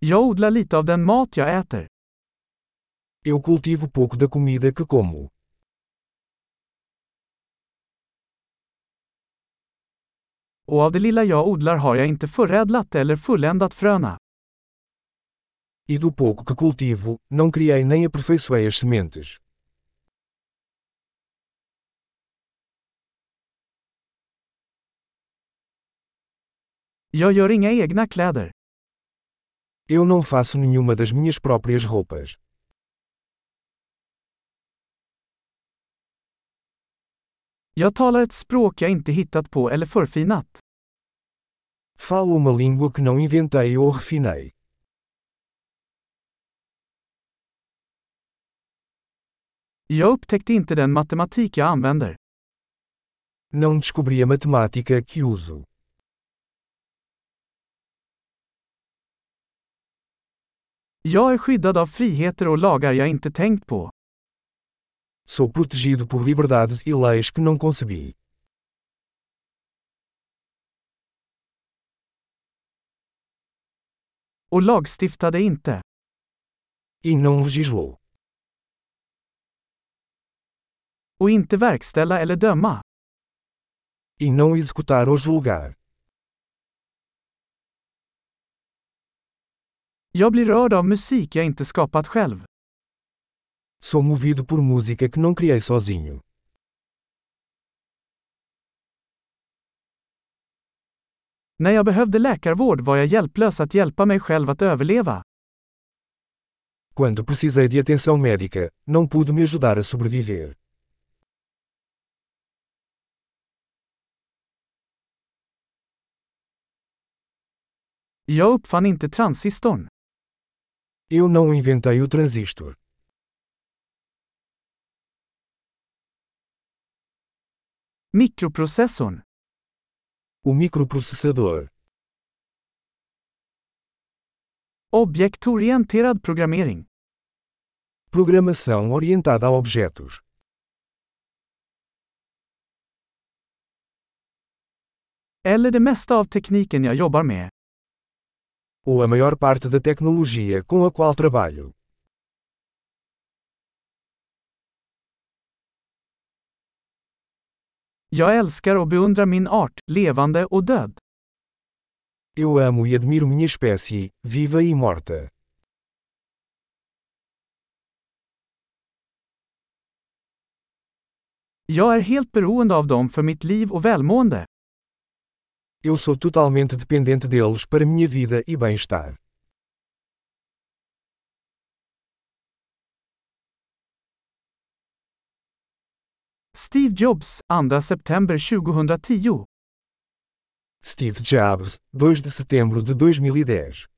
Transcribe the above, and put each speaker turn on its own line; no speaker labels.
Jag odlar lite av den mat jag äter.
Eu cultivo pouco da comida que como.
Och av det lilla jag odlar har jag inte förädlat eller fulländat fröna.
E do pouco que cultivo, não criei nem aperfeiçoei as sementes.
Jag gör inga egna kläder.
Eu não faço nenhuma das minhas próprias roupas.
Jag talar ett språk jag inte hittat på eller förfinat.
Falo uma língua que não inventei ou refinei.
Jag upptäckte inte den matematik jag använder.
Não descobri a matemática que uso.
Jag är skyddad av friheter och lagar jag inte tänkt på.
Sou protegido por liberdades e leis que não concebi.
Och lagstiftade inte.
E não legislou.
Och inte verkställa eller döma.
E não executar ou julgar.
Jag blir rörd av musik jag inte skapat själv.
Sou movido por música que não criei sozinho.
När jag behövde läkarvård var jag hjälplös att hjälpa mig själv att överleva.
Quando precisei de atenção médica, não pude me ajudar a sobreviver.
Jag uppfann inte transistorn.
Eu não inventei o transistor.
Mikroprocessorn.
O microprocessador.
Objektorienterad programmering.
Programação orientada a objetos.
Eller det mesta av tekniken jag jobbar med.
Ou a maior parte da tecnologia com a qual trabalho.
Jag älskar och beundrar min art, levande och död.
Eu amo e admiro minha espécie, viva e morta.
Jag är helt beroende av dem för mitt liv och välmående.
Eu sou totalmente dependente deles para minha vida e bem-estar.
Steve Jobs, 2 september 2010.
Steve Jobs, 2 de setembro de 2010